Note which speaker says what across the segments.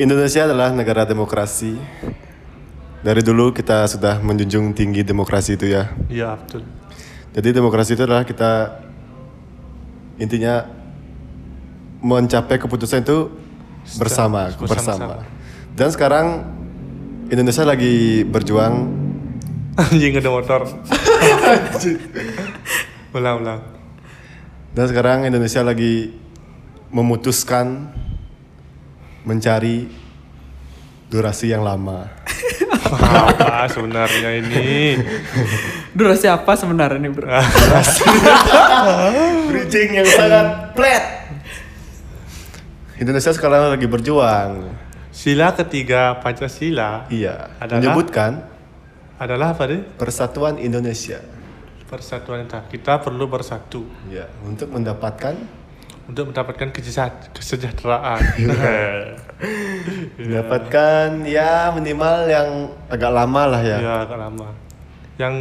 Speaker 1: Indonesia adalah negara demokrasi. Dari dulu kita sudah menjunjung tinggi demokrasi itu ya.
Speaker 2: Iya betul.
Speaker 1: Jadi demokrasi itu adalah kita intinya mencapai keputusan itu bersama,
Speaker 2: bersama-sama.
Speaker 1: bersama. Dan sekarang Indonesia lagi berjuang
Speaker 2: Anjing ada motor. ulang ulang.
Speaker 1: dan sekarang Indonesia lagi memutuskan mencari durasi yang lama.
Speaker 2: Apa sebenarnya ini?
Speaker 3: Durasi apa sebenarnya nih bro?
Speaker 1: Bridging yang sangat plat. Indonesia sekarang lagi berjuang.
Speaker 2: Sila ketiga Pancasila
Speaker 1: Iya.
Speaker 2: Adalah?
Speaker 1: Menyebutkan
Speaker 2: adalah apa deh?
Speaker 1: Persatuan Indonesia.
Speaker 2: Persatuan kita. Kita perlu bersatu
Speaker 1: Ya, untuk mendapatkan
Speaker 2: untuk mendapatkan keseja- kesejahteraan.
Speaker 1: mendapatkan ya minimal yang agak lama lah ya.
Speaker 2: ya agak lama yang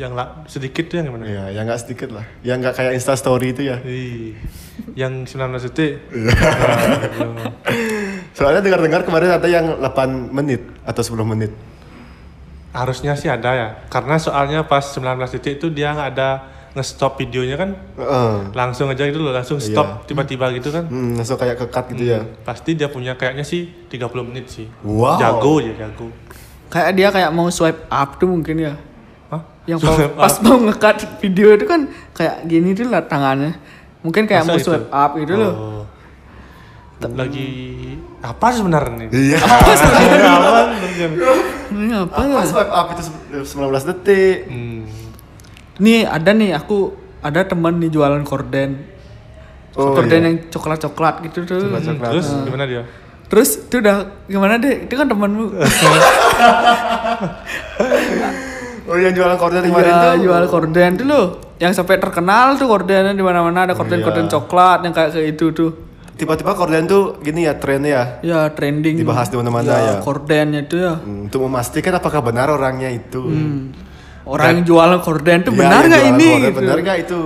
Speaker 2: yang la- sedikit tuh yang gimana
Speaker 1: Ya, yang nggak sedikit lah. Yang nggak kayak Insta Story itu ya.
Speaker 2: Ih, yang 19 detik Iya.
Speaker 1: Soalnya dengar-dengar kemarin ada yang 8 menit atau 10 menit.
Speaker 2: harusnya sih ada ya karena soalnya pas 19 detik itu dia nggak ada nge-stop videonya kan
Speaker 1: Heeh.
Speaker 2: langsung aja gitu loh
Speaker 1: Iya.
Speaker 2: langsung stop tiba-tiba gitu kan
Speaker 1: Hmm, langsung kayak kekat gitu ya.
Speaker 2: pasti dia punya kayaknya sih 30 menit sih
Speaker 1: Wow.
Speaker 2: jago ya jago
Speaker 3: Kayak dia kayak mau swipe up tuh mungkin ya.
Speaker 2: Hah?
Speaker 3: Yang pas,
Speaker 2: Swipe
Speaker 3: pas
Speaker 2: up.
Speaker 3: mau ngekat video itu kan kayak gini tuh lah tangannya. Mungkin kayak
Speaker 2: Masa
Speaker 3: mau
Speaker 2: itu?
Speaker 3: swipe up gitu loh.
Speaker 2: Oh. lagi apa sebenarnya ini?
Speaker 1: Iya.
Speaker 2: Apa sebenarnya?
Speaker 3: Ini apa ya?
Speaker 1: Apa swipe up itu se- 19 detik.
Speaker 2: Ah. Hmm.
Speaker 3: Nih ada nih aku ada teman nih jualan korden.
Speaker 1: Oh,
Speaker 3: korden
Speaker 1: iya.
Speaker 3: yang coklat-coklat gitu tuh.
Speaker 2: terus gimana dia
Speaker 3: Terus itu udah gimana deh? Itu kan temanmu.
Speaker 1: Oh, yang jualan korden kemarin
Speaker 3: Iya,
Speaker 1: tuh.
Speaker 3: jual korden tuh loh. Yang sampai terkenal tuh kordennya di mana-mana ada korden-korden
Speaker 1: Iya.
Speaker 3: coklat yang kayak kayak itu tuh.
Speaker 1: Tiba-tiba korden tuh gini ya trennya ya.
Speaker 3: Ya trending.
Speaker 1: Dibahas di mana-mana ya.
Speaker 3: Kordennya itu ya.
Speaker 1: Hmm, Untuk memastikan apakah benar orangnya itu.
Speaker 3: Orang yang jualan korden
Speaker 1: Iya,
Speaker 3: tuh Hmm. benar
Speaker 1: yang
Speaker 3: nggak
Speaker 1: jualan
Speaker 3: ini?
Speaker 1: korden,
Speaker 3: gitu.
Speaker 1: Benar nggak itu?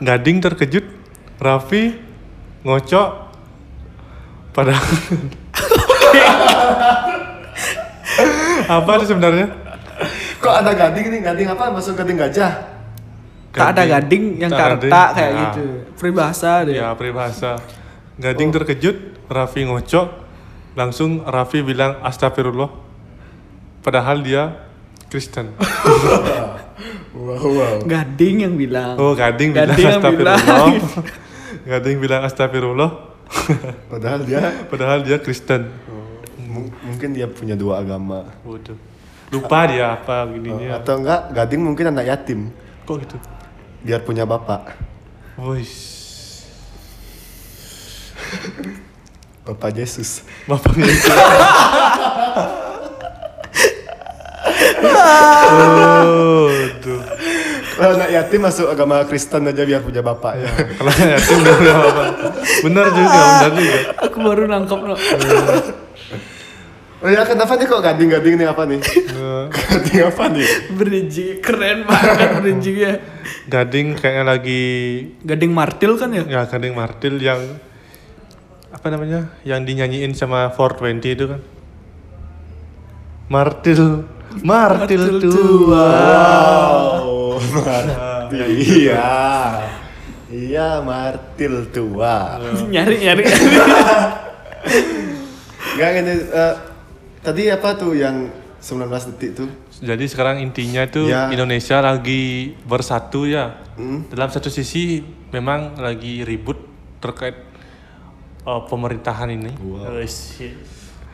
Speaker 2: Gading terkejut, Raffi ngocok pada apa sih sebenarnya?
Speaker 1: Kok ada gading nih? Gading apa? Masuk gading gajah?
Speaker 3: Tak ada gading yang
Speaker 2: Tak
Speaker 3: tak
Speaker 2: gading.
Speaker 3: retak kayak
Speaker 2: Ya.
Speaker 3: gitu. Peribahasa deh.
Speaker 2: Ya peribahasa. Gading terkejut, Raffi ngocok, langsung Raffi bilang astagfirullah. Padahal dia Kristen.
Speaker 1: Wow, wow.
Speaker 3: Gading yang bilang.
Speaker 2: Oh, Gading bilang
Speaker 3: Gading yang
Speaker 2: astagfirullah.
Speaker 3: bilang.
Speaker 2: Gading bilang astagfirullah,
Speaker 1: Padahal dia
Speaker 2: padahal dia Kristen.
Speaker 1: Mung- mungkin dia punya dua agama
Speaker 2: Waduh. Lupa dia apa
Speaker 3: Iya.
Speaker 2: gininya.
Speaker 1: atau enggak gading mungkin anak yatim
Speaker 2: Kok gitu?
Speaker 1: biar punya bapak
Speaker 2: Wis.
Speaker 1: bapak Yesus
Speaker 2: Bapak Yesus. oh, tuh.
Speaker 1: kalau anak yatim masuk agama Kristen aja biar punya bapak ya
Speaker 3: Iya.
Speaker 2: Kalau yatim udah udah apa? Benar juga, benar juga.
Speaker 3: Aku baru nangkap no.
Speaker 1: oh ya kenapa nih kok gading gading nih apa nih
Speaker 3: Iya.
Speaker 2: Eh,
Speaker 1: gading apa nih
Speaker 3: Bridging keren banget bridgingnya.
Speaker 2: Gading kayaknya lagi
Speaker 3: Gading martil kan ya?
Speaker 2: ya Gading Martil yang apa namanya? Yang dinyanyiin sama 420 itu kan. Martil, Martil
Speaker 3: Martil
Speaker 2: tua.
Speaker 1: wow Martil. iya iya martil tua
Speaker 3: nyari nyari.
Speaker 1: enggak ini eh, tadi apa tuh yang 19 detik tuh
Speaker 2: Jadi sekarang intinya itu
Speaker 1: Ya.
Speaker 2: Indonesia lagi bersatu ya.
Speaker 1: Hmm.
Speaker 2: Dalam satu sisi memang lagi ribut terkait uh, pemerintahan ini.
Speaker 1: Wow.
Speaker 2: Wes, iya.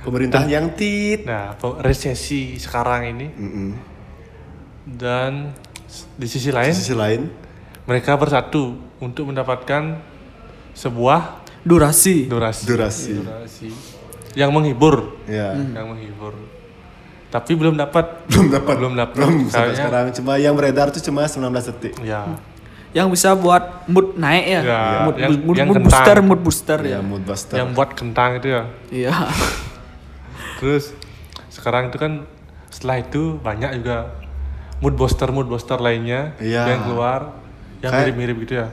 Speaker 1: pemerintahan yang tit
Speaker 2: Nah, pe- resesi sekarang ini
Speaker 1: Mm-mm.
Speaker 2: dan s- di sisi
Speaker 1: Di
Speaker 2: lain
Speaker 1: sisi lain
Speaker 2: mereka bersatu untuk mendapatkan sebuah
Speaker 3: Durasi.
Speaker 2: durasi.
Speaker 1: Durasi.
Speaker 2: Durasi. Yang menghibur,
Speaker 1: ya
Speaker 2: yang menghibur. Tapi belum dapat.
Speaker 1: belum dapat
Speaker 2: Belum dapat.
Speaker 1: belum sampai
Speaker 2: Kayaknya-
Speaker 1: sekarang cuma yang beredar tuh cuma 19 detik
Speaker 2: Ya.
Speaker 3: Yang bisa buat mood naik ya.
Speaker 2: Ya,
Speaker 3: Mood,
Speaker 2: yang-
Speaker 3: mood-
Speaker 2: yang
Speaker 3: mood
Speaker 2: kentang.
Speaker 3: booster, mood booster ya.
Speaker 1: ya mood buster
Speaker 2: Yang buat kentang itu ya.
Speaker 3: Iya.
Speaker 2: Terus sekarang itu kan setelah itu banyak juga mood booster mood booster lainnya
Speaker 1: Iya.
Speaker 2: yang keluar yang
Speaker 1: Kayak-
Speaker 2: mirip-mirip gitu ya.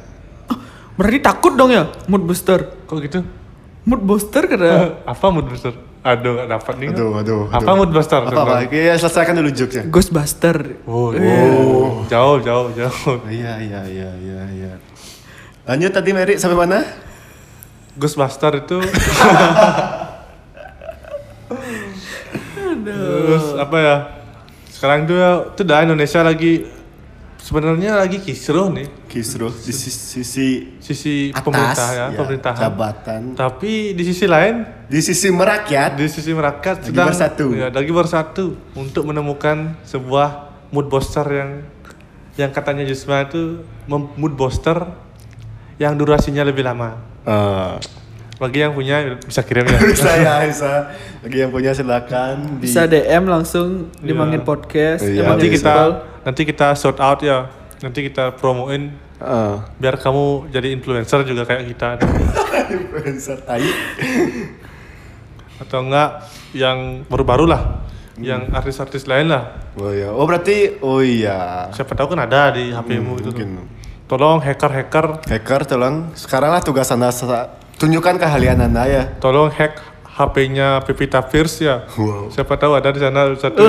Speaker 3: Berarti takut dong ya mood booster.
Speaker 2: Kok gitu?
Speaker 3: Mood booster kena
Speaker 2: apa mood booster? Aduh, gak dapat nih.
Speaker 1: Aduh, aduh.
Speaker 2: Apa
Speaker 1: aduh.
Speaker 2: mood booster?
Speaker 1: Apa, apa? Ya, selesaikan dulu jokesnya.
Speaker 3: Ghostbuster.
Speaker 2: Wow, jauh, jauh, jauh.
Speaker 1: Iya, iya, iya, iya, iya. Lanjut tadi Mary sampai mana?
Speaker 2: Ghostbuster itu. Terus apa ya? Sekarang tuh ya, tuh dah Indonesia lagi sebenarnya lagi kisruh nih
Speaker 1: Kisruh di sisi, sisi
Speaker 2: sisi
Speaker 1: atas,
Speaker 2: pemerintah ya,
Speaker 1: ya,
Speaker 2: pemerintahan.
Speaker 1: jabatan.
Speaker 2: Tapi di sisi lain
Speaker 1: Di sisi merakyat.
Speaker 2: di sisi merakyat
Speaker 1: Lagi
Speaker 2: sedang
Speaker 1: bersatu.
Speaker 2: ya, lagi bersatu untuk menemukan sebuah mood booster yang yang katanya Jusma itu mem- mood booster yang durasinya lebih lama.
Speaker 1: Eh,
Speaker 2: Bagi yang punya bisa kirim ya.
Speaker 1: bisa ya, bisa. Bagi yang punya silakan di
Speaker 3: Bisa DM langsung di
Speaker 2: Iya.
Speaker 3: Mangin Podcast.
Speaker 1: Iya,
Speaker 3: Emang
Speaker 2: nanti
Speaker 3: jadi
Speaker 2: kita
Speaker 3: sebel.
Speaker 2: nanti kita sort out ya. Nanti kita promoin
Speaker 1: Eh,
Speaker 2: biar kamu jadi influencer juga kayak kita
Speaker 1: influencer tai.
Speaker 2: atau enggak yang baru-baru lah, yang artis-artis lain lah.
Speaker 1: Oh iya. Oh berarti oh iya.
Speaker 2: Siapa tahu kan ada di HPmu itu. tuh.
Speaker 1: Mungkin
Speaker 2: Tolong hacker-hacker
Speaker 1: hacker tolong sekaranglah tugas Anda sa- tunjukkan keahlian Anda ya.
Speaker 2: tolong hack HP-nya Pevita Pierce ya.
Speaker 1: Wow.
Speaker 2: Siapa tahu ada di sana satu.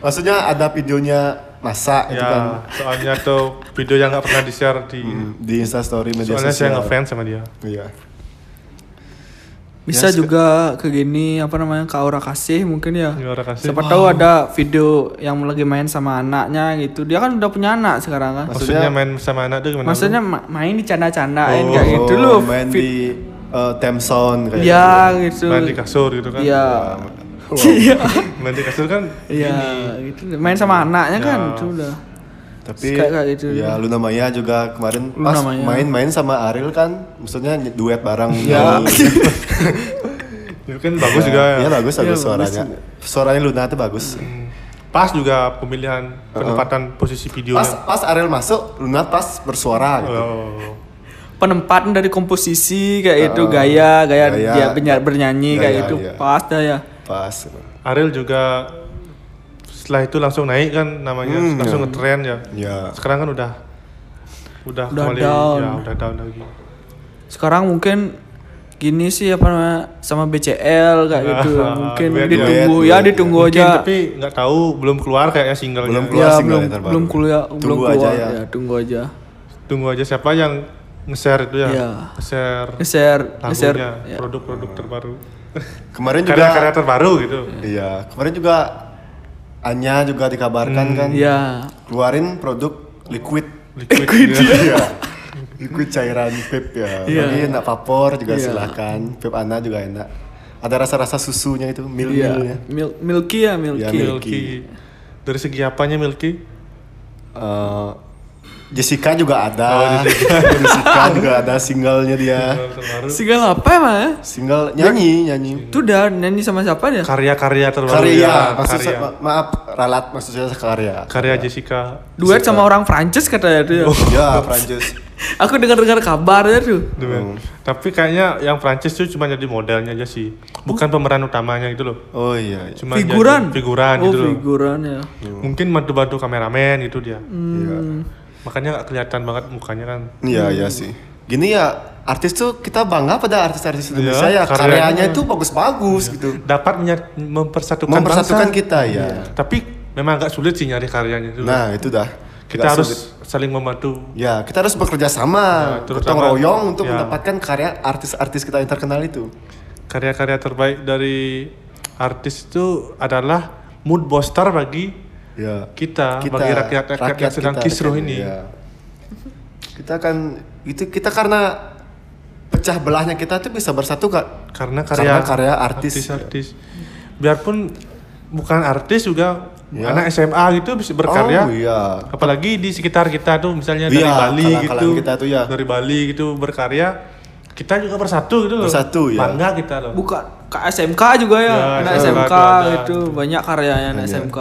Speaker 1: Maksudnya ada videonya masak itu kan Hmm,
Speaker 2: ya, soalnya tuh video yang nggak pernah di-share di
Speaker 1: di instastory media
Speaker 2: soalnya saya
Speaker 1: sosial.
Speaker 2: ngefans sama dia.
Speaker 1: Iya. Ya,
Speaker 3: Bisa
Speaker 1: sek-
Speaker 3: juga ke gini apa namanya ke Aura Kasih mungkin ya.
Speaker 1: Iya,
Speaker 2: Ini orang kasih.
Speaker 3: Siapa tahu ada video yang lagi main sama anaknya gitu. Dia kan udah punya anak sekarang kan.
Speaker 2: Maksudnya main sama anak tuh gimana?
Speaker 3: Maksudnya ma- main di canda-candain
Speaker 2: Oh,
Speaker 3: kayak gitu loh.
Speaker 1: Main
Speaker 3: Fit-
Speaker 1: di eh, Time Sound kayak
Speaker 3: ya gitu.
Speaker 2: main di kasur gitu kan.
Speaker 3: Iya.
Speaker 1: Wow.
Speaker 3: Iya.
Speaker 2: Main di kasur kan
Speaker 3: Iya, gitu. Main sama anaknya
Speaker 2: Ya.
Speaker 3: kan itu udah.
Speaker 1: Tapi
Speaker 3: Kayak- kayak gitu.
Speaker 1: ya Luna Maya juga kemarin
Speaker 3: Luna
Speaker 1: pas
Speaker 3: Maya.
Speaker 1: main-main sama Ariel kan, maksudnya ny- duet bareng.
Speaker 3: Ya.
Speaker 1: nyanyi.
Speaker 2: itu kan bagus juga ya.
Speaker 1: Iya bagus bagus
Speaker 3: Iya,
Speaker 1: suaranya. Suaranya Luna tuh bagus.
Speaker 2: Pas juga pemilihan penempatan posisi videonya.
Speaker 1: Pas pas Ariel masuk, Luna pas bersuara gitu.
Speaker 2: Oh.
Speaker 3: Penempatan dari komposisi kayak itu gaya, gaya,
Speaker 1: Ah, Gaya.
Speaker 3: dia benya- bernyanyi
Speaker 1: Gaya,
Speaker 3: kayak itu
Speaker 1: iya.
Speaker 3: pas dah ya.
Speaker 1: Pas.
Speaker 2: Ariel juga setelah itu langsung naik kan namanya,
Speaker 1: Hmm,
Speaker 2: langsung
Speaker 1: ya.
Speaker 2: ngetren ya.
Speaker 1: Ya.
Speaker 2: Sekarang kan udah udah,
Speaker 3: Udah
Speaker 2: kembali
Speaker 3: down.
Speaker 2: ya udah down lagi.
Speaker 3: Sekarang mungkin gini sih apa namanya sama BCL kayak gitu.
Speaker 2: Ah,
Speaker 3: Mungkin
Speaker 2: duet,
Speaker 3: ditunggu
Speaker 1: duet,
Speaker 3: ya,
Speaker 1: duet,
Speaker 3: ditunggu
Speaker 2: Mungkin
Speaker 3: aja.
Speaker 2: tapi nggak tahu belum keluar kayaknya singlenya.
Speaker 1: Belum keluar.
Speaker 3: ya
Speaker 1: singlenya
Speaker 3: belum
Speaker 1: terbaru.
Speaker 3: belum kuliah,
Speaker 1: Tunggu
Speaker 3: belum
Speaker 1: aja
Speaker 3: keluar
Speaker 1: ya.
Speaker 3: ya. tunggu aja.
Speaker 2: Tunggu aja siapa yang nge-share itu ya.
Speaker 3: Iya.
Speaker 2: Nge-share
Speaker 3: Nge-share, nge-share
Speaker 2: lagunya,
Speaker 3: ya.
Speaker 2: produk-produk terbaru.
Speaker 1: Kemarin Iya. juga
Speaker 2: Karya-karya terbaru gitu.
Speaker 1: Iya, kemarin juga Anya juga dikabarkan kan
Speaker 3: Ya.
Speaker 1: keluarin produk liquid.
Speaker 2: Liquid.
Speaker 1: Iya. liquid cairan vape ya.
Speaker 3: Iya.
Speaker 1: Jadi enak vapor juga
Speaker 3: Iya.
Speaker 1: silahkan. Vape Ana juga enak. Ada rasa-rasa susunya itu,
Speaker 3: Iya.
Speaker 1: mil-milnya.
Speaker 3: Mil- milky ya,
Speaker 2: Milky.
Speaker 3: milky.
Speaker 1: Milky.
Speaker 2: Dari segi apanya Milky?
Speaker 1: Eh, Jessica juga ada.
Speaker 2: Oh,
Speaker 1: Jessica. juga ada singlenya dia.
Speaker 2: Single terbaru.
Speaker 3: Segala apa emang ya?
Speaker 1: Single nyanyi, nyanyi.
Speaker 3: Itu udah nyanyi sama siapa dia?
Speaker 2: Karya-karya terbaru.
Speaker 1: Karya,
Speaker 2: ya,
Speaker 1: maksud
Speaker 2: karya.
Speaker 1: saya- ma- maaf, ralat maksud saya karya.
Speaker 2: Karya Jessica.
Speaker 3: Duet sama orang Prancis katanya tuh. ya.
Speaker 1: Ya, Prancis.
Speaker 3: Aku dengar-dengar kabarnya tuh.
Speaker 1: Hmm.
Speaker 2: Duet. Tapi kayaknya yang Prancis tuh cuma jadi modelnya aja sih. Bukan pemeran utamanya gitu loh.
Speaker 1: Oh iya. iya.
Speaker 2: Cuma jadi
Speaker 3: figuran.
Speaker 2: figuran
Speaker 3: oh,
Speaker 2: gitu loh.
Speaker 3: figuran ya.
Speaker 1: Hmm.
Speaker 2: Mungkin bantu-bantu kameramen gitu dia.
Speaker 1: Iya.
Speaker 2: Makanya nggak kelihatan banget mukanya kan.
Speaker 1: Iya iya sih. Gini ya artis tuh kita bangga pada artis-artis Indonesia ya
Speaker 2: Iya,
Speaker 1: karyanya
Speaker 2: karyanya.
Speaker 1: itu bagus-bagus gitu.
Speaker 2: Dapat menya- mempersatukan,
Speaker 1: Mempersatukan
Speaker 2: bangsa. Iya.
Speaker 1: kita ya.
Speaker 2: Tapi memang agak sulit sih nyari karyanya dulu.
Speaker 1: Nah itu dah.
Speaker 2: kita
Speaker 1: Nggak
Speaker 2: harus
Speaker 1: sulit.
Speaker 2: saling membantu.
Speaker 1: Ya kita harus bekerja sama,
Speaker 2: Ya, terutama-
Speaker 1: gotong royong untuk
Speaker 2: ya.
Speaker 1: mendapatkan karya artis-artis kita yang terkenal itu.
Speaker 2: Karya-karya terbaik dari artis itu adalah mood booster bagi
Speaker 1: Ya.
Speaker 2: kita, bagi rakyat-rakyat yang sedang
Speaker 1: kita,
Speaker 2: kisruh
Speaker 1: rakyat,
Speaker 2: ini.
Speaker 1: ya. Kita kan itu kita karena pecah belahnya kita tuh bisa bersatu kak.
Speaker 2: karena
Speaker 1: Karena
Speaker 2: karya
Speaker 1: karya artis.
Speaker 2: artis, biarpun bukan artis juga
Speaker 1: Ya.
Speaker 2: anak SMA gitu bisa berkarya
Speaker 1: Oh iya.
Speaker 2: apalagi di sekitar kita tuh misalnya dari
Speaker 1: Iya,
Speaker 2: Bali
Speaker 1: kalang-kalang
Speaker 2: gitu
Speaker 1: kita tuh ya.
Speaker 2: dari Bali gitu berkarya kita juga bersatu gitu loh
Speaker 1: Bersatu, ya.
Speaker 2: bangga kita loh
Speaker 3: Bukan ke SMK juga ya.
Speaker 2: Ya,
Speaker 3: Anak
Speaker 2: SMK
Speaker 3: SMK,
Speaker 2: tuh ada.
Speaker 3: gitu, banyak karyanya anak SMK.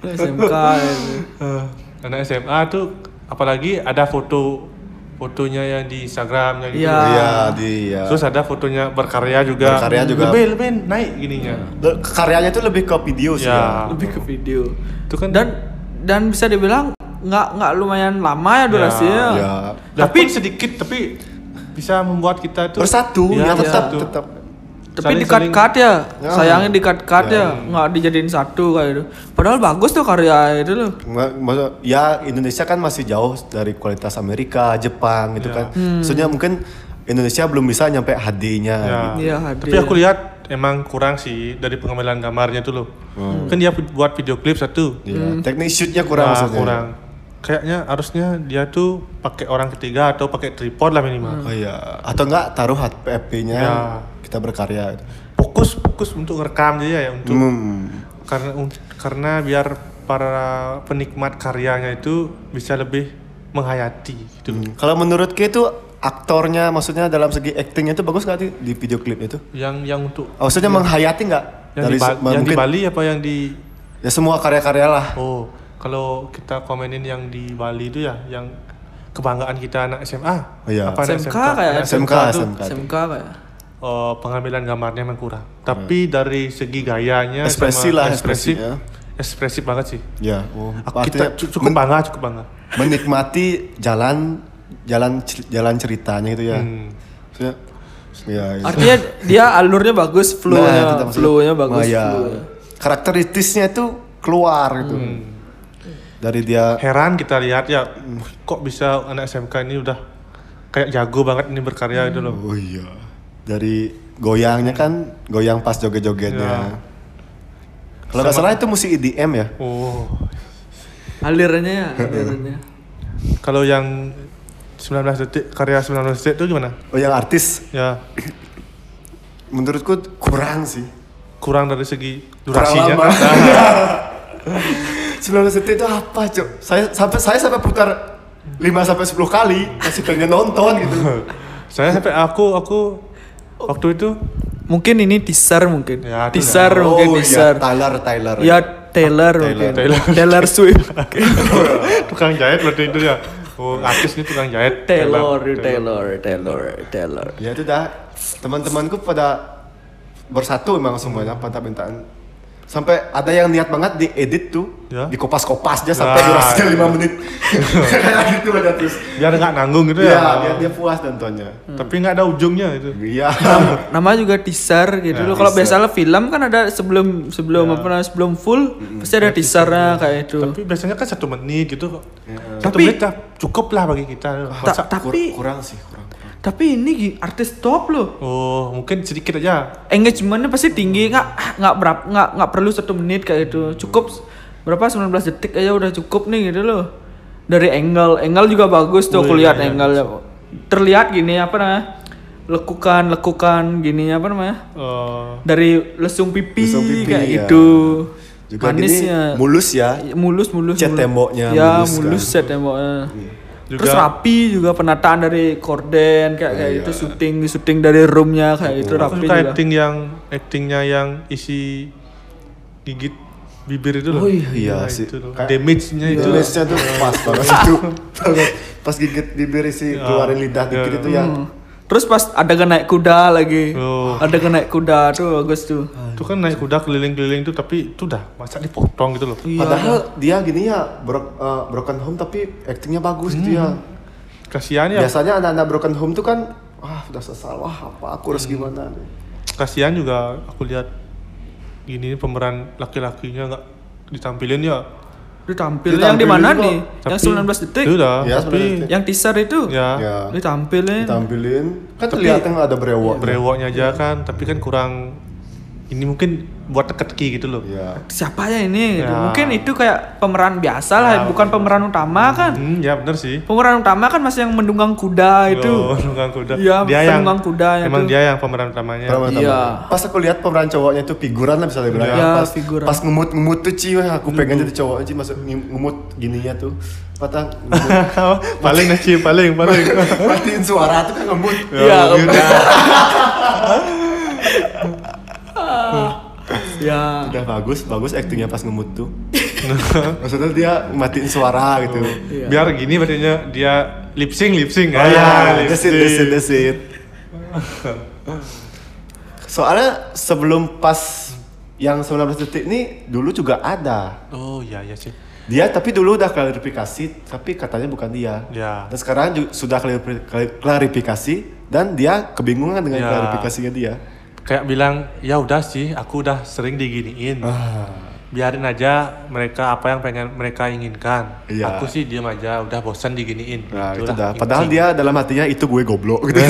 Speaker 3: Anak SMK gitu.
Speaker 2: Eh, anak SMA tuh apalagi ada foto fotonya yang di Instagramnya gitu
Speaker 3: Iya.
Speaker 2: loh.
Speaker 1: Iya dia.
Speaker 2: terus ada fotonya berkarya juga
Speaker 1: Berkarya juga. Iya.
Speaker 2: lebih lebih naik gininya
Speaker 1: Be- karyanya tuh lebih ke video sih.
Speaker 2: Ya.
Speaker 1: Ya.
Speaker 3: Lebih ke video.
Speaker 2: itu kan
Speaker 3: Dan dan bisa dibilang nggak nggak lumayan lama ya durasinya.
Speaker 1: Ya.
Speaker 2: tapi sedikit tapi bisa membuat kita itu
Speaker 1: bersatu ya,
Speaker 2: Iya,
Speaker 1: tetap
Speaker 2: bersatu.
Speaker 1: tetap
Speaker 3: Tapi
Speaker 2: Saling-
Speaker 3: di cut cut ya,
Speaker 1: Ya.
Speaker 3: sayangnya di cut cut
Speaker 1: Ya.
Speaker 3: ya, nggak dijadiin satu kayak itu. Padahal bagus tuh karya itu loh.
Speaker 1: Nggak- maksud- ya Indonesia kan masih jauh dari kualitas Amerika Jepang gitu
Speaker 2: Ya.
Speaker 1: kan maksudnya mungkin Indonesia belum bisa nyampe HD-nya
Speaker 2: Ya.
Speaker 1: gitu.
Speaker 3: Iya,
Speaker 2: Tapi
Speaker 3: hadir.
Speaker 2: aku lihat emang kurang sih dari pengambilan gambarnya tuh loh. Kan dia buat video klip satu.
Speaker 1: Ya, teknik shoot-nya Hmm. kurang
Speaker 2: Nah,
Speaker 1: maksudnya
Speaker 2: kurang. Kayaknya harusnya dia tuh pakai orang ketiga atau pakai tripod lah minimal.
Speaker 1: oh iya atau enggak taruh HPP-nya
Speaker 2: Ya.
Speaker 1: kita berkarya gitu.
Speaker 2: Fokus fokus untuk ngerekam dia ya untuk
Speaker 1: Hmm.
Speaker 2: karena un- karena biar para penikmat karyanya itu bisa lebih menghayati gitu. loh.
Speaker 1: Kalau menurut Ki itu aktornya maksudnya dalam segi actingnya itu bagus nggak sih di video klip itu? Oh,
Speaker 2: Yang yang untuk
Speaker 1: Maksudnya menghayati nggak?
Speaker 2: yang Ya. di, Ba-
Speaker 1: se-
Speaker 2: yang di
Speaker 1: mungkin-
Speaker 2: Bali apa yang di
Speaker 1: Ya semua karya-karya lah.
Speaker 2: Oh, kalau kita komenin yang di Bali itu ya yang kebanggaan kita anak SMA.
Speaker 1: Oh, iya.
Speaker 2: Apa anak
Speaker 3: SMK kayak gitu.
Speaker 2: Anak
Speaker 1: SMK,
Speaker 2: tuh,
Speaker 1: SMK.
Speaker 3: SMK kayak.
Speaker 2: eh, Ya. pengambilan gambarnya memang kurang. Tapi dari segi
Speaker 1: Hmm.
Speaker 2: gayanya
Speaker 1: Ekspresi
Speaker 2: sama
Speaker 1: lah,
Speaker 2: ekspresif,
Speaker 1: ekspresinya.
Speaker 2: ekspresif banget sih.
Speaker 1: Ya. Oh,
Speaker 2: Aku-
Speaker 1: artinya
Speaker 2: kita cu- cukup
Speaker 1: men-
Speaker 2: bangga, cukup bangga.
Speaker 1: menikmati jalan jalan cer- jalan ceritanya gitu ya.
Speaker 2: Hmm.
Speaker 1: Maksudnya, ya, ya.
Speaker 3: Artinya dia alurnya bagus,
Speaker 1: Nah, itu
Speaker 3: flow-nya,
Speaker 1: maksudnya.
Speaker 3: flow-nya bagus.
Speaker 1: Nah, ya.
Speaker 3: flow-nya.
Speaker 1: Karakteristisnya itu keluar gitu.
Speaker 2: Hmm.
Speaker 1: Dari dia
Speaker 2: Heran kita lihat ya,
Speaker 1: Hmm.
Speaker 2: kok bisa anak SMK ini udah kayak jago banget ini berkarya gitu loh.
Speaker 1: Oh iya. Dari goyangnya kan, goyang pas joget-jogetnya.
Speaker 2: Ya.
Speaker 1: Kalau nggak salah itu musik EDM ya.
Speaker 2: Oh,
Speaker 3: Alirannya, ya, alirannya.
Speaker 2: kalau yang 19 detik karya 19 detik itu gimana?
Speaker 1: Oh yang artis
Speaker 2: Ya
Speaker 1: menurutku kurang sih.
Speaker 2: kurang dari segi
Speaker 1: Kurang
Speaker 2: durasinya.
Speaker 1: lama. 19 detik itu apa, Cok? Saya sampai saya sampai putar 5 sampai 10 kali masih pengen nonton gitu.
Speaker 2: Saya sampai aku aku waktu itu
Speaker 3: Mungkin ini teaser mungkin.
Speaker 2: Ya, itu
Speaker 3: teaser
Speaker 1: oh iya,
Speaker 3: mungkin teaser.
Speaker 1: Tyler Tyler.
Speaker 3: Ya Taylor mungkin.
Speaker 2: Taylor.
Speaker 3: Taylor Swift.
Speaker 2: tukang jahit berarti itu ya. Oh, artis ini tukang jahit.
Speaker 3: Taylor,
Speaker 2: Taylor.
Speaker 3: Taylor, Taylor, Taylor.
Speaker 1: Ya itu dah. Teman-temanku pada bersatu emang semuanya
Speaker 3: Hmm.
Speaker 1: pada mintaan sampai ada yang niat banget diedit tuh
Speaker 2: Ya.
Speaker 1: di kopas-kopas
Speaker 3: Nah,
Speaker 1: aja sampai
Speaker 2: Ya,
Speaker 1: durasinya
Speaker 2: ya.
Speaker 3: iya.
Speaker 1: 5 menit kayak gitu ada terus
Speaker 2: Biar nggak nanggung
Speaker 3: Iya.
Speaker 2: gitu
Speaker 1: ya,
Speaker 2: ya.
Speaker 1: biar dia puas nontonnya
Speaker 3: Hmm.
Speaker 2: Tapi nggak ada ujungnya itu.
Speaker 1: iya
Speaker 3: Nama juga teaser gitu loh. Kalau
Speaker 1: teaser.
Speaker 3: biasanya film kan ada sebelum sebelum apa namanya sebelum full pasti ada teasernya kayak itu.
Speaker 2: Tapi biasanya kan satu menit gitu kok.
Speaker 1: Iya.
Speaker 2: Satu
Speaker 3: Tapi-
Speaker 2: menit lah, cukup lah bagi kita.
Speaker 3: Ta-
Speaker 2: Masa-
Speaker 1: Kur-
Speaker 3: tapi
Speaker 1: kurang sih kurang, kurang.
Speaker 3: tapi ini gi- artis top loh.
Speaker 2: oh mungkin sedikit aja.
Speaker 3: engagementnya pasti tinggi nggak nggak berapa nggak nggak perlu satu menit kayak itu cukup s- berapa 19 detik aja udah cukup nih gitu loh dari angle angle juga bagus tuh
Speaker 2: Oh,
Speaker 3: aku
Speaker 2: iya,
Speaker 3: lihat
Speaker 2: iya.
Speaker 3: angle ya. terlihat gini apa namanya lekukan lekukan gini apa namanya
Speaker 2: Eh,
Speaker 3: dari lesung pipi,
Speaker 1: Lesung pipi,
Speaker 3: kayak
Speaker 1: iya.
Speaker 3: gitu
Speaker 1: juga
Speaker 3: manisnya Iya.
Speaker 1: gini mulus ya
Speaker 3: mulus mulus
Speaker 1: Cat
Speaker 3: mulus.
Speaker 1: temboknya
Speaker 3: ya
Speaker 1: mulus
Speaker 3: mulus,
Speaker 1: kan. Iya.
Speaker 3: cat temboknya
Speaker 2: Juga-
Speaker 3: terus rapi juga penataan dari korden kayak
Speaker 1: Iya.
Speaker 3: kayak itu syuting syuting dari roomnya kayak itu
Speaker 2: aku
Speaker 3: rapi
Speaker 2: suka
Speaker 3: juga
Speaker 2: acting yang actingnya yang isi gigit bibir itu loh.
Speaker 3: Oh, iya,
Speaker 1: iya
Speaker 2: Nah,
Speaker 1: sih.
Speaker 2: Itu loh.
Speaker 1: Kayak-
Speaker 2: Damage-nya itu. loh.
Speaker 1: Jenisnya tuh pas banget itu. Banget. Pas gigit bibir sih
Speaker 3: Iya.
Speaker 1: keluarin lidah dikit itu ya.
Speaker 3: Hmm. Terus pas ada naik kuda lagi.
Speaker 2: Oh.
Speaker 3: ada naik kuda tuh bagus tuh.
Speaker 2: Itu kan naik kuda keliling-keliling itu tapi itu dah masa dipotong gitu loh.
Speaker 3: Iya.
Speaker 1: Padahal dia gini ya bro- eh, broken home tapi actingnya bagus gitu ya.
Speaker 3: Hmm.
Speaker 2: Kasihan ya.
Speaker 3: Iya.
Speaker 1: Biasanya anak-anak broken home tuh kan wah udah sesal wah apa aku
Speaker 3: Hmm.
Speaker 1: harus gimana nih.
Speaker 2: Kasihan juga aku lihat gini pemeran laki-lakinya nggak ditampilin ya.
Speaker 3: Ditampil
Speaker 1: Ditampilin
Speaker 3: yang di mana
Speaker 1: juga.
Speaker 3: nih?
Speaker 2: Tapi,
Speaker 3: yang 19 detik.
Speaker 2: Itu dah,
Speaker 1: Ya,
Speaker 2: tapi
Speaker 1: 19 detik.
Speaker 3: Yang teaser itu.
Speaker 2: ya,
Speaker 1: Ya.
Speaker 3: Ditampilin.
Speaker 1: Ditampilin kan
Speaker 2: Tapi-
Speaker 1: kelihatan ada brewok.
Speaker 2: berewoknya aja kan, tapi kan kurang ini mungkin buat teka-teki gitu loh.
Speaker 1: Iya.
Speaker 3: Siapa ya ini? Gitu.
Speaker 2: Ya.
Speaker 3: Mungkin itu kayak pemeran biasa lah,
Speaker 1: Ya,
Speaker 3: bukan pemeran utama kan.
Speaker 2: Hmm, ya benar sih.
Speaker 3: Pemeran utama kan masih yang mendunggang kuda itu.
Speaker 2: Oh, tunggang kuda.
Speaker 3: Iya,
Speaker 2: dia yang
Speaker 3: tunggang kuda yang
Speaker 2: Emang
Speaker 3: itu.
Speaker 2: dia yang pemeran utamanya.
Speaker 1: Pemeran
Speaker 3: Iya.
Speaker 1: utamanya. Pas aku lihat pemeran cowoknya itu figuran lah bisa dibilang. ya.
Speaker 3: Iya,
Speaker 1: pas,
Speaker 3: figuran. Hmm.
Speaker 1: Pas ngemut-ngemut tuh Ci, wah, aku pengen jadi cowok aja masuk nge- ngemut gininya tuh. Patah ngemut.
Speaker 2: paling nasi, paling, paling.
Speaker 1: Matiin suara tuh kan ngemut.
Speaker 3: Iya.
Speaker 2: Ya, mungkin.
Speaker 3: Ya.
Speaker 1: Udah bagus, bagus aktingnya pas ngemut tuh. Maksudnya dia matiin suara gitu.
Speaker 3: Iya.
Speaker 2: Biar gini badannya dia lip sync, lip sync.
Speaker 1: Ah,
Speaker 2: Ah, lip
Speaker 1: that's it, that's it,
Speaker 2: sync.
Speaker 1: that's it. Soalnya sebelum pas yang 19 detik ini dulu juga ada.
Speaker 2: Oh iya iya sih.
Speaker 1: Dia tapi dulu udah klarifikasi, tapi katanya bukan dia.
Speaker 2: Ya.
Speaker 1: Dan sekarang ju- sudah klarifi- klarifikasi, dan dia kebingungan dengan
Speaker 2: Ya.
Speaker 1: klarifikasinya dia
Speaker 2: Kayak bilang, ya udah sih, aku udah sering diginiin.
Speaker 1: Ah.
Speaker 2: Biarin aja mereka apa yang pengen mereka inginkan.
Speaker 1: Iya.
Speaker 2: Aku sih diam aja, udah bosan diginiin. Gitu
Speaker 1: nah itu
Speaker 2: Ya, Itulah
Speaker 1: dah padahal
Speaker 2: intinya.
Speaker 1: dia dalam hatinya itu gue goblok
Speaker 3: Ya.
Speaker 1: gitu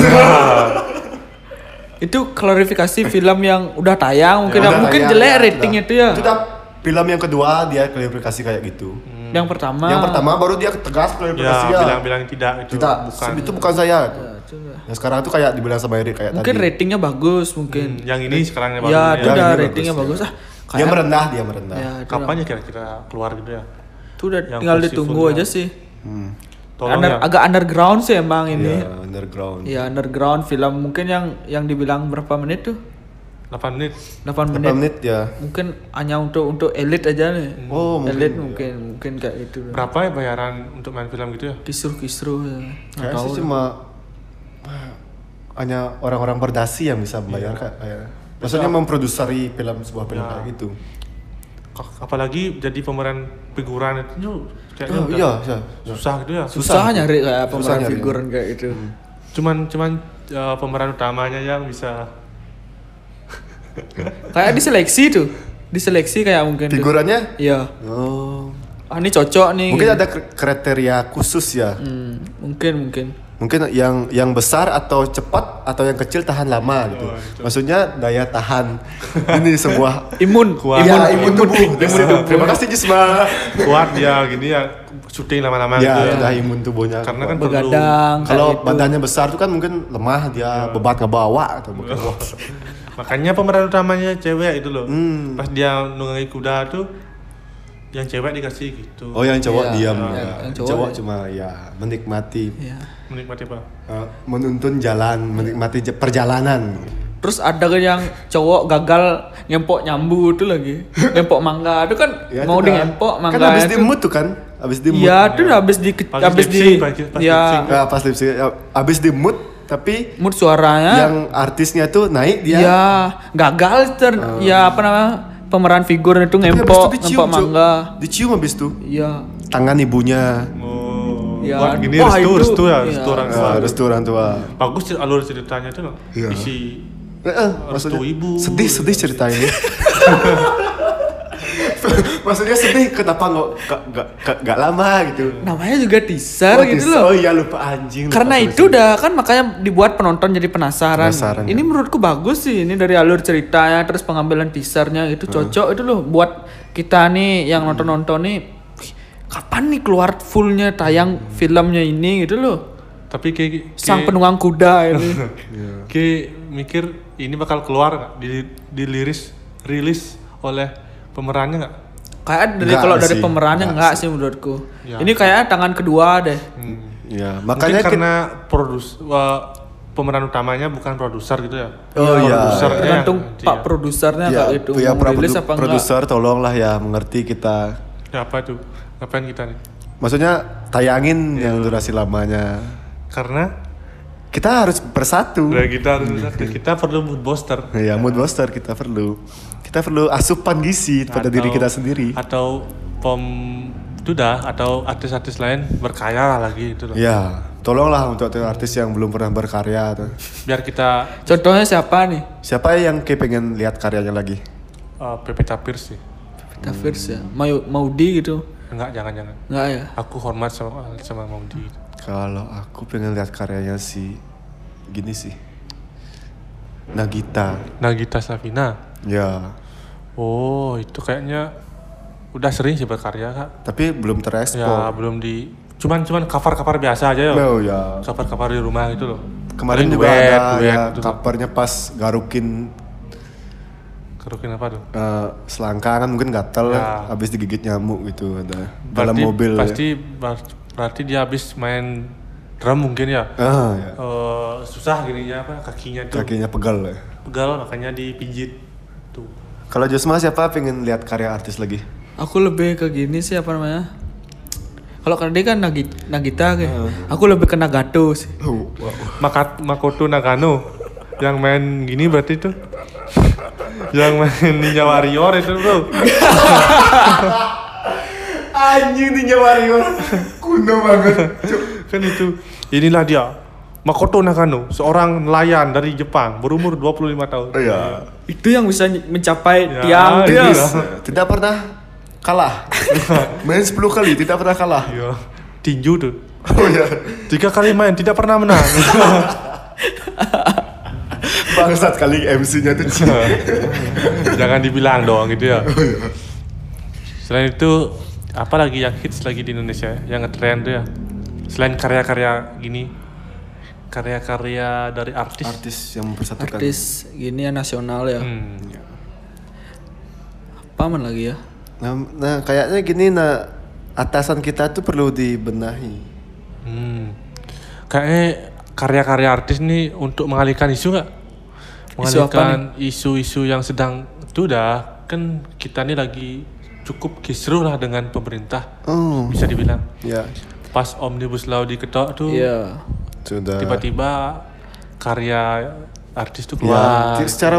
Speaker 3: Itu klarifikasi film yang udah tayang
Speaker 1: Ya,
Speaker 3: mungkin ya,
Speaker 1: udah,
Speaker 3: mungkin
Speaker 1: ya,
Speaker 3: jelek
Speaker 1: ya,
Speaker 3: rating
Speaker 1: udah.
Speaker 3: itu ya.
Speaker 1: itu dah film yang kedua dia klarifikasi kayak gitu
Speaker 3: Yang pertama.
Speaker 1: yang pertama baru dia tegas klarifikasi
Speaker 2: ya bilang-bilang tidak itu
Speaker 1: tidak
Speaker 2: bukan.
Speaker 1: itu bukan saya gitu.
Speaker 3: Ya, itu lah.
Speaker 1: Nah, sekarang tuh kayak dibilang sama Erik kayak
Speaker 3: Mungkin
Speaker 1: ya, tadi.
Speaker 3: ratingnya bagus
Speaker 2: Hmm,
Speaker 3: mungkin.
Speaker 2: yang ini sekarang yang baru
Speaker 3: ya, itu
Speaker 1: Ya,
Speaker 3: udah
Speaker 1: ini bagus,
Speaker 3: ratingnya
Speaker 1: ya. Nah,
Speaker 3: bagus, ah.
Speaker 1: dia
Speaker 3: kayak-
Speaker 1: merendah, dia merendah.
Speaker 3: Ya, itu udah-
Speaker 2: Kapan ya kira-kira keluar gitu ya?
Speaker 3: Itu udah
Speaker 2: yang
Speaker 3: tinggal
Speaker 2: versi
Speaker 3: ditunggu
Speaker 2: fullnya.
Speaker 3: aja sih.
Speaker 2: Tolong
Speaker 3: Under-
Speaker 2: ya. Iya.
Speaker 3: agak underground sih emang ini.
Speaker 1: Ya, underground.
Speaker 3: Ya underground film mungkin yang yang dibilang berapa menit tuh?
Speaker 2: 8 menit.
Speaker 3: 8
Speaker 1: Berapa
Speaker 3: menit.
Speaker 1: menit ya?
Speaker 3: Mungkin hanya untuk untuk elit aja nih.
Speaker 1: Oh, mungkin,
Speaker 3: elit
Speaker 1: iya.
Speaker 3: mungkin mungkin kayak gitu.
Speaker 2: Berapa ya bayaran untuk main film gitu ya?
Speaker 3: Kisruh-kisruh ya. Nggak
Speaker 1: Kayaknya
Speaker 3: tahu
Speaker 1: sih
Speaker 3: deh.
Speaker 1: cuma hanya orang-orang berdasi yang
Speaker 3: Iya.
Speaker 1: bisa membayar Kak, kayaknya. Maksudnya memproduseri film sebuah film
Speaker 2: Ya.
Speaker 1: kayak gitu.
Speaker 2: Ka- Apalagi jadi pemeran figuran itu kayaknya
Speaker 1: Oh,
Speaker 2: udah
Speaker 1: iya, iya. iya.
Speaker 2: susah gitu ya.
Speaker 3: susah,
Speaker 1: susah.
Speaker 3: nyari kayak
Speaker 1: Susah
Speaker 3: pemeran
Speaker 1: nyari. Hmm.
Speaker 3: figuran kayak gitu.
Speaker 2: Cuman cuman eh, pemeran utamanya yang bisa
Speaker 3: Kayak diseleksi tuh. Diseleksi kayak mungkin. tuh.
Speaker 1: Figurannya?
Speaker 3: Iya.
Speaker 1: Oh.
Speaker 3: Ah ini cocok nih.
Speaker 1: Mungkin
Speaker 3: gitu.
Speaker 1: ada kr- kriteria khusus ya.
Speaker 3: Hmm, mungkin mungkin.
Speaker 1: Mungkin yang yang besar atau cepat atau yang kecil tahan lama gitu. Maksudnya daya tahan ini sebuah
Speaker 3: Imun. Iya.
Speaker 2: Kuat.
Speaker 1: Iya,
Speaker 2: Imun-
Speaker 1: imun tubuh. Terima kasih Jisma.
Speaker 2: kuat ya gini ya syuting lama-lama
Speaker 1: Ya,
Speaker 2: gitu.
Speaker 1: udah imun tubuhnya.
Speaker 2: Karena
Speaker 1: kuat.
Speaker 2: kan perlu
Speaker 3: Begadang. kayak
Speaker 1: Kalau
Speaker 3: gitu.
Speaker 1: badannya besar tuh kan mungkin lemah dia bebat ngebawa atau mungkin.
Speaker 2: makanya pemeran utamanya cewek itu loh.
Speaker 1: Hmm.
Speaker 2: Pas dia nunggangi kuda tuh yang cewek dikasih gitu.
Speaker 1: Oh yang cowok
Speaker 3: Iya,
Speaker 1: diam.
Speaker 3: yang-
Speaker 1: ya.
Speaker 3: yang
Speaker 1: cowok,
Speaker 3: cowok ya.
Speaker 1: cuma ya menikmati
Speaker 3: Iya.
Speaker 2: Menikmati apa?
Speaker 1: eh, menuntun jalan, menikmati je- perjalanan.
Speaker 3: Terus ada kan yang cowok gagal ngempok nyambu itu lagi. Ngempok mangga itu kan
Speaker 1: Ya,
Speaker 3: mau
Speaker 1: itu
Speaker 3: di
Speaker 1: dah.
Speaker 3: ngempok mangga.
Speaker 1: Kan habis
Speaker 3: itu-
Speaker 1: dimut tuh kan? Habis dimut.
Speaker 3: Iya, itu udah habis di
Speaker 2: Pas
Speaker 3: habis
Speaker 2: lip
Speaker 3: di
Speaker 2: sync, pas- pas lip
Speaker 3: ya
Speaker 1: Nah, pas lipsing ya, habis dimut tapi
Speaker 3: mood suaranya
Speaker 1: yang artisnya tuh naik
Speaker 3: ya,
Speaker 1: dia. Oh.
Speaker 3: gagal ter ya apa namanya pemeran figur itu
Speaker 1: tapi habis
Speaker 3: ngempok
Speaker 1: itu
Speaker 3: ngempok
Speaker 1: Cuk.
Speaker 3: mangga.
Speaker 1: Dicium habis tuh
Speaker 3: Iya.
Speaker 1: tangan ibunya.
Speaker 2: Oh.
Speaker 3: Hmm. Ya,
Speaker 2: Wah, gini
Speaker 3: wah,
Speaker 2: restu,
Speaker 3: itu-
Speaker 2: restu ya,
Speaker 3: iya.
Speaker 2: restu orang tua.
Speaker 1: Nah, restu orang tua.
Speaker 2: Bagus sih alur ceritanya tuh loh.
Speaker 1: Iya.
Speaker 2: Isi
Speaker 1: Eh, eh,
Speaker 2: Restu ibu.
Speaker 1: sedih sedih ya. cerita ini maksudnya sedih kenapa nggak nggak- nggak nggak- nggak lama gitu
Speaker 3: Namanya juga teaser
Speaker 1: Oh,
Speaker 3: gitu
Speaker 1: dis-
Speaker 3: loh.
Speaker 1: oh iya lupa anjing lupa
Speaker 3: Karena
Speaker 1: sorry,
Speaker 3: itu
Speaker 1: sorry.
Speaker 3: udah kan makanya dibuat penonton jadi penasaran.
Speaker 1: Penasaran,
Speaker 3: ini
Speaker 1: ya.
Speaker 3: menurutku bagus sih ini dari alur ceritanya terus pengambilan teasernya itu cocok itu loh buat kita nih yang
Speaker 1: Hmm.
Speaker 3: nonton-nonton nih "Wih, kapan nih keluar fullnya tayang
Speaker 1: Hmm.
Speaker 3: filmnya ini gitu loh.
Speaker 2: tapi kayak
Speaker 3: Sang penunggang kuda ini.
Speaker 2: Ki mikir ini bakal keluar nggak di diliris rilis oleh pemerannya nggak?
Speaker 3: Kayak dari
Speaker 1: Nggak
Speaker 3: kalau dari
Speaker 1: sih,
Speaker 3: pemerannya
Speaker 1: nggak
Speaker 3: enggak sih menurutku.
Speaker 2: Ya.
Speaker 3: Ini kayak tangan kedua deh.
Speaker 1: ya
Speaker 2: Makanya
Speaker 1: makanya kita-
Speaker 2: karena produs wa- pemeran utamanya bukan produser gitu ya?
Speaker 1: oh iya
Speaker 2: Produser. Iya,
Speaker 3: Tergantung
Speaker 2: nanti
Speaker 3: Pak
Speaker 2: ya.
Speaker 3: produsernya
Speaker 1: ya,
Speaker 3: kayak itu
Speaker 1: ya,
Speaker 3: mau
Speaker 1: para produ-
Speaker 3: rilis apa enggak.
Speaker 1: produser tolonglah ya mengerti kita
Speaker 2: Ya, apa itu? Ngapain kita nih?
Speaker 1: maksudnya tayangin
Speaker 3: Iya.
Speaker 1: yang durasi lamanya
Speaker 2: Karena
Speaker 1: kita harus bersatu
Speaker 3: Iya.
Speaker 2: udah kita harus kita perlu mood booster
Speaker 1: ya mood booster kita perlu kita perlu asupan gizi pada diri
Speaker 2: Atau-
Speaker 1: kita sendiri
Speaker 2: atau pom itu dah atau artis-artis lain berkaya lah lagi itu loh.
Speaker 1: ya tolonglah untuk artis yang belum pernah berkarya tuh.
Speaker 2: Biar kita
Speaker 3: Contohnya siapa nih?
Speaker 1: Siapa yang kayak pengen lihat karyanya lagi?
Speaker 2: eh, Pevita Pierce sih.
Speaker 3: Pevita First ya. Mau Maudi gitu.
Speaker 2: Enggak, jangan-jangan.
Speaker 3: Enggak ya?
Speaker 2: Aku hormat sama sama Maudi.
Speaker 1: Kalau aku pengen lihat karyanya si gini sih. Nagita.
Speaker 2: Nagita Nah, Slavina.
Speaker 1: Ya,
Speaker 2: Oh, itu kayaknya udah sering sih berkarya, Kak.
Speaker 1: tapi belum
Speaker 2: Ya,
Speaker 1: terespon.
Speaker 2: belum di cuman cuman cover-cover biasa aja ya.
Speaker 1: Oh ya.
Speaker 2: Cover-cover di rumah gitu loh.
Speaker 1: Kemarin
Speaker 2: Paling
Speaker 1: juga
Speaker 2: duet,
Speaker 1: ada
Speaker 2: duet
Speaker 1: ya,
Speaker 2: gitu loh.
Speaker 1: covernya pas garukin
Speaker 2: Kerukin apa tuh?
Speaker 1: eh, selangkangan mungkin gatel kan,
Speaker 2: Ya.
Speaker 1: habis digigit nyamuk gitu ada dalam
Speaker 2: Berarti-
Speaker 1: mobil. ya.
Speaker 2: Pasti ber- berarti dia habis main drum mungkin ya.
Speaker 1: Ya. Ah, ya.
Speaker 2: Eh, susah gininya apa kakinya tuh
Speaker 1: Kakinya pegal. Ya.
Speaker 2: pegal makanya dipijit tuh.
Speaker 1: Kalau Josma siapa pengen lihat karya artis lagi?
Speaker 3: Aku lebih ke gini sih apa namanya? Kalau kan dia kan Nagita, Nagita kayak. Aku lebih ke Nagato sih.
Speaker 1: Oh,
Speaker 2: Makat Makoto Nagano yang main gini berarti tuh yang main Ninja Warrior itu bro
Speaker 1: Anjing Ninja Warrior. Kuno banget.
Speaker 2: kan itu inilah dia Makoto Nakano, seorang nelayan dari Jepang berumur 25 tahun.
Speaker 1: Iya.
Speaker 3: itu yang bisa ny- mencapai
Speaker 2: Ya,
Speaker 3: tiang
Speaker 2: iya.
Speaker 3: tinggi.
Speaker 2: Yes.
Speaker 1: Tidak pernah kalah. Main 10 kali tidak pernah kalah.
Speaker 2: Iya. Tinju tuh.
Speaker 1: Oh iya.
Speaker 2: Tiga kali main tidak pernah menang.
Speaker 1: Bangsat kali MC-nya tuh.
Speaker 2: Jangan dibilang dong gitu ya. Selain itu, apa lagi yang hits lagi di Indonesia ya? yang ngetrend tuh ya? Selain karya-karya gini, karya-karya dari artis.
Speaker 1: Artis yang mempersatukan.
Speaker 3: artis gini ya nasional ya
Speaker 2: Hmm.
Speaker 3: paman lagi ya
Speaker 1: Nah, nah, kayaknya gini nah atasan kita tuh perlu dibenahi.
Speaker 2: Hmm. Kayaknya karya-karya artis nih untuk mengalihkan isu nggak?
Speaker 3: Isu apa
Speaker 2: Mengalihkan isu-isu yang sedang itu dah kan kita nih lagi cukup kisruh lah dengan pemerintah
Speaker 1: Oh.
Speaker 2: bisa dibilang
Speaker 1: Ya.
Speaker 2: pas omnibus law diketok tuh
Speaker 3: iya
Speaker 1: Sudah.
Speaker 2: tiba-tiba karya artis tuh
Speaker 1: Ya,
Speaker 2: keluar
Speaker 1: ti- secara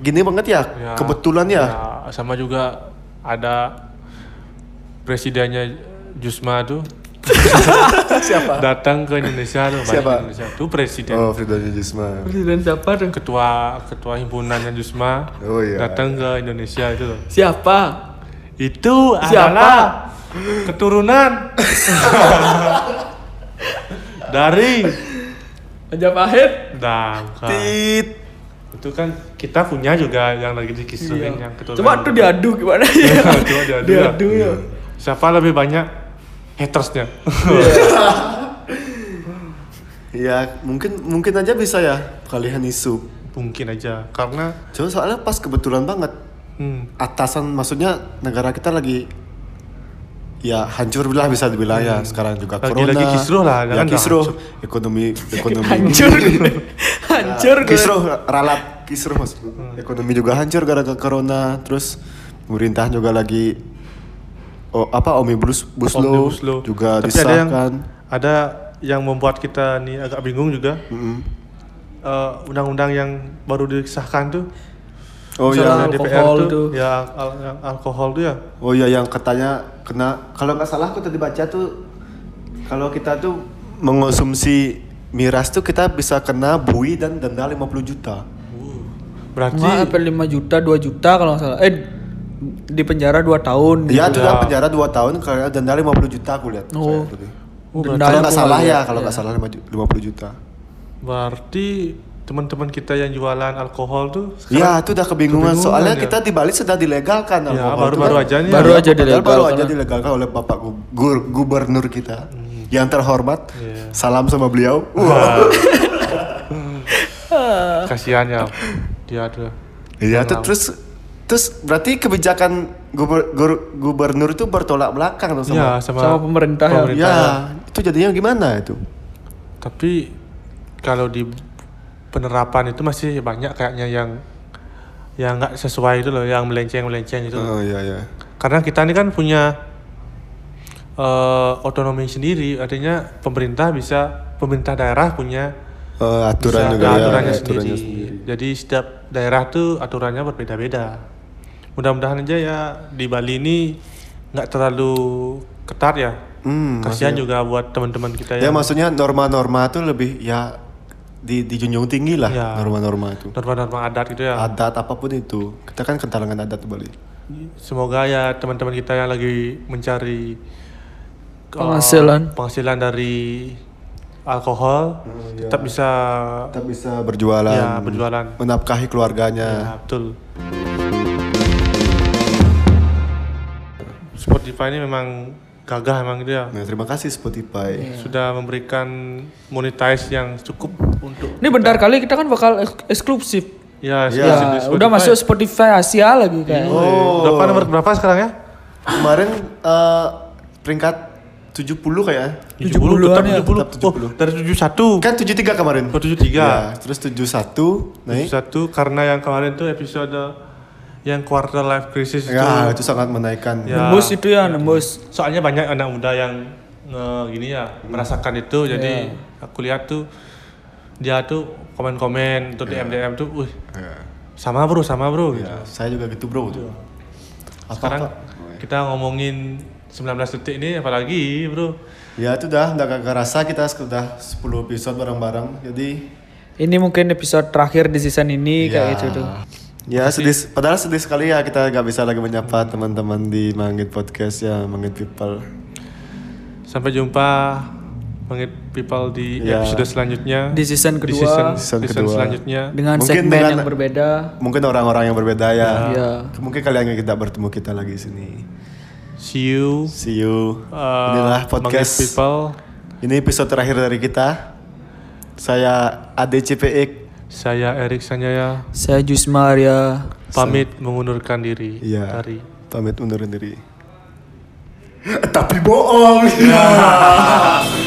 Speaker 1: gini banget ya,
Speaker 2: Ya,
Speaker 1: kebetulan ya.
Speaker 2: ya, sama juga ada presidennya Jusma tuh
Speaker 1: Siapa?
Speaker 2: datang ke Indonesia tuh balik
Speaker 1: Siapa?
Speaker 2: ke Indonesia tuh presiden
Speaker 1: Oh, Frida Jisma.
Speaker 3: presiden siapa tuh?
Speaker 2: ketua ketua himpunannya Jusma
Speaker 1: Oh, iya.
Speaker 2: datang ke Indonesia itu loh.
Speaker 3: siapa
Speaker 2: Itu
Speaker 3: Siapa?
Speaker 2: adalah keturunan dari
Speaker 3: aja pahit
Speaker 2: Dangka.
Speaker 1: Tit.
Speaker 2: Itu kan kita punya juga yang lagi
Speaker 3: Iya.
Speaker 2: dikisuhin yang keturunan.
Speaker 3: coba tuh diadu gimana ya
Speaker 2: Coba diadu. Iya.
Speaker 3: diadu ya
Speaker 2: Siapa lebih banyak hatersnya?
Speaker 1: Ya, mungkin mungkin aja bisa ya kalian isu.
Speaker 2: Mungkin aja karena
Speaker 1: Cuma soalnya pas kebetulan banget
Speaker 2: hmm,
Speaker 1: atasan maksudnya negara kita lagi ya hancur lah bisa dibilang ya sekarang juga
Speaker 2: Lagi-
Speaker 1: corona.
Speaker 2: lagi Hmm. kisruh lah,
Speaker 1: Ya
Speaker 2: kan udah
Speaker 1: kisruh.
Speaker 2: hancur.
Speaker 1: Ekonomi ekonomi.
Speaker 3: hancur hancur
Speaker 2: kan?
Speaker 3: gue.
Speaker 1: kisruh ralat kisruh mas
Speaker 2: Hmm.
Speaker 1: ekonomi juga hancur gara-gara corona terus pemerintah juga lagi oh apa omnibus bus law
Speaker 2: Omnibus Law.
Speaker 1: juga
Speaker 2: Tapi ada yang
Speaker 1: disahkan
Speaker 2: ada yang membuat kita nih agak bingung juga.
Speaker 1: Mm-mm.
Speaker 2: Eh, undang-undang yang baru disahkan tuh
Speaker 1: oh iya
Speaker 2: Misalnya
Speaker 3: Soal alkohol tuh.
Speaker 2: ya al- yang alkohol tuh ya
Speaker 1: oh iya yang katanya kena kalau nggak salah aku tadi baca tuh kalau kita tuh mengonsumsi miras tuh kita bisa kena bui dan denda 50 juta
Speaker 2: berarti
Speaker 3: Nggak, hampir 5 juta 2 juta kalau nggak salah eh di penjara 2 tahun
Speaker 1: Iya
Speaker 2: Gitu.
Speaker 1: tuh yang penjara 2 tahun karena denda 50 juta aku lihat
Speaker 3: Oh.
Speaker 1: saya tadi.
Speaker 2: Oh,
Speaker 1: kalau
Speaker 3: Denda yang
Speaker 1: nggak
Speaker 3: aku
Speaker 1: salah ya
Speaker 3: lihat,
Speaker 1: kalau
Speaker 3: iya.
Speaker 1: nggak salah 50 juta
Speaker 2: berarti teman-teman kita yang jualan alkohol tuh
Speaker 1: Ya, itu udah kebingungan.
Speaker 2: kebingungan
Speaker 1: Soalnya
Speaker 2: ya.
Speaker 1: kita di Bali sedang dilegalkan
Speaker 2: Ya,
Speaker 1: alkohol.
Speaker 2: baru-baru
Speaker 1: Itu
Speaker 2: aja nih
Speaker 3: Baru
Speaker 1: Ya,
Speaker 3: aja
Speaker 1: padahal
Speaker 3: dilegalkan.
Speaker 1: Baru aja dilegalkan oleh Bapak Gu- Gur- Gubernur kita. Yang terhormat.
Speaker 2: Hmm. Iya.
Speaker 1: Salam sama beliau. Wah.
Speaker 2: Wah. kasihan ya dia tuh
Speaker 1: Iya,
Speaker 2: Salam.
Speaker 1: tuh, terus terus berarti kebijakan guber- gur- gubernur itu bertolak belakang dong
Speaker 2: ya
Speaker 1: sama.
Speaker 2: sama,
Speaker 3: sama pemerintah ya.
Speaker 1: Ya, itu jadinya gimana itu?
Speaker 2: tapi kalau di penerapan itu masih banyak kayaknya yang yang nggak sesuai itu loh yang melenceng melenceng itu
Speaker 1: Oh iya ya.
Speaker 2: karena kita ini kan punya eh, otonomi sendiri artinya pemerintah bisa pemerintah daerah punya
Speaker 1: aturan
Speaker 2: bisa-
Speaker 1: juga
Speaker 2: ada
Speaker 1: ya,
Speaker 2: aturannya,
Speaker 1: aturannya
Speaker 2: sendiri. Iya. jadi setiap daerah tuh aturannya berbeda-beda mudah-mudahan aja ya di Bali ini nggak terlalu ketat ya
Speaker 1: Hmm,
Speaker 2: kasihan juga buat teman-teman kita
Speaker 1: Ya
Speaker 2: yang
Speaker 1: maksudnya norma-norma itu lebih ya di dijunjung tinggi lah
Speaker 2: Ya.
Speaker 1: norma-norma itu.
Speaker 2: norma-norma adat gitu ya
Speaker 1: adat apapun itu kita kan kental dengan adat Bali
Speaker 2: semoga ya teman-teman kita yang lagi mencari eh,
Speaker 3: Penghasilan.
Speaker 2: penghasilan dari alkohol tetap bisa
Speaker 1: kita bisa berjualan
Speaker 2: ya berjualan
Speaker 1: menafkahi keluarganya
Speaker 2: ya betul Spotify ini memang gagah emang dia
Speaker 1: nah terima kasih Spotify
Speaker 2: sudah memberikan monetize yang cukup untuk
Speaker 3: ini bentar kali kita kan bakal eks- eksklusif
Speaker 1: Ya,
Speaker 2: ya, eksklusif di
Speaker 3: ya, udah
Speaker 2: Spotify.
Speaker 3: masuk Spotify Asia lagi kayak
Speaker 1: Oh.
Speaker 2: berapa nomor berapa sekarang ya
Speaker 1: kemarin eh, peringkat 70 kayaknya
Speaker 2: 70 tetap
Speaker 3: 70-an ya.
Speaker 1: Tetap
Speaker 2: 70
Speaker 1: 70.
Speaker 2: oh dari 71
Speaker 1: kan 73 kemarin
Speaker 2: ke 73
Speaker 1: ya, terus 71 naik
Speaker 2: 71 karena yang kemarin tuh episode yang quarter life crisis
Speaker 1: ya
Speaker 2: itu
Speaker 1: itu sangat menaikkan
Speaker 2: Ya.
Speaker 3: nembus itu ya nembus
Speaker 2: soalnya banyak anak muda yang eh, gini ya merasakan
Speaker 1: Ya.
Speaker 2: itu jadi aku lihat tuh dia tuh komen-komen tuh DM DM tuh wih
Speaker 1: Ya.
Speaker 2: sama bro sama bro gitu.
Speaker 1: Ya, saya juga gitu bro
Speaker 2: Sekarang
Speaker 1: Ya. apa
Speaker 2: kita ngomongin 19 detik ini apalagi bro
Speaker 1: Ya itu dah, nggak nggak kerasa kita sudah 10 episode bareng-bareng. Jadi
Speaker 3: Ini mungkin episode terakhir di season ini kayak
Speaker 1: Ya.
Speaker 3: gitu tuh.
Speaker 1: Ya sedih, padahal sedih sekali ya kita nggak bisa lagi menyapa teman-teman di Mangit Podcast ya, Mangit People.
Speaker 2: sampai jumpa Mangit people di
Speaker 1: Ya.
Speaker 2: episode selanjutnya
Speaker 3: Di season kedua
Speaker 2: season,
Speaker 1: Season
Speaker 2: season
Speaker 1: kedua.
Speaker 2: selanjutnya
Speaker 3: dengan
Speaker 1: Mungkin
Speaker 3: segmen
Speaker 1: dengan-
Speaker 3: yang berbeda.
Speaker 1: Mungkin orang-orang yang berbeda ya.
Speaker 3: Iya.
Speaker 1: Mungkin kalian yang kita bertemu kita lagi di sini.
Speaker 2: see you
Speaker 1: See you.
Speaker 2: uh,
Speaker 1: Inilah
Speaker 2: Mangit
Speaker 1: podcast.
Speaker 2: people
Speaker 1: Ini episode terakhir dari kita. Saya ADCPX.
Speaker 2: saya Erik Sanjaya
Speaker 3: Saya Jusma Arya.
Speaker 2: pamit mengundurkan diri
Speaker 1: Iya.
Speaker 2: dari
Speaker 1: Pamit undur diri. Tapi bohong.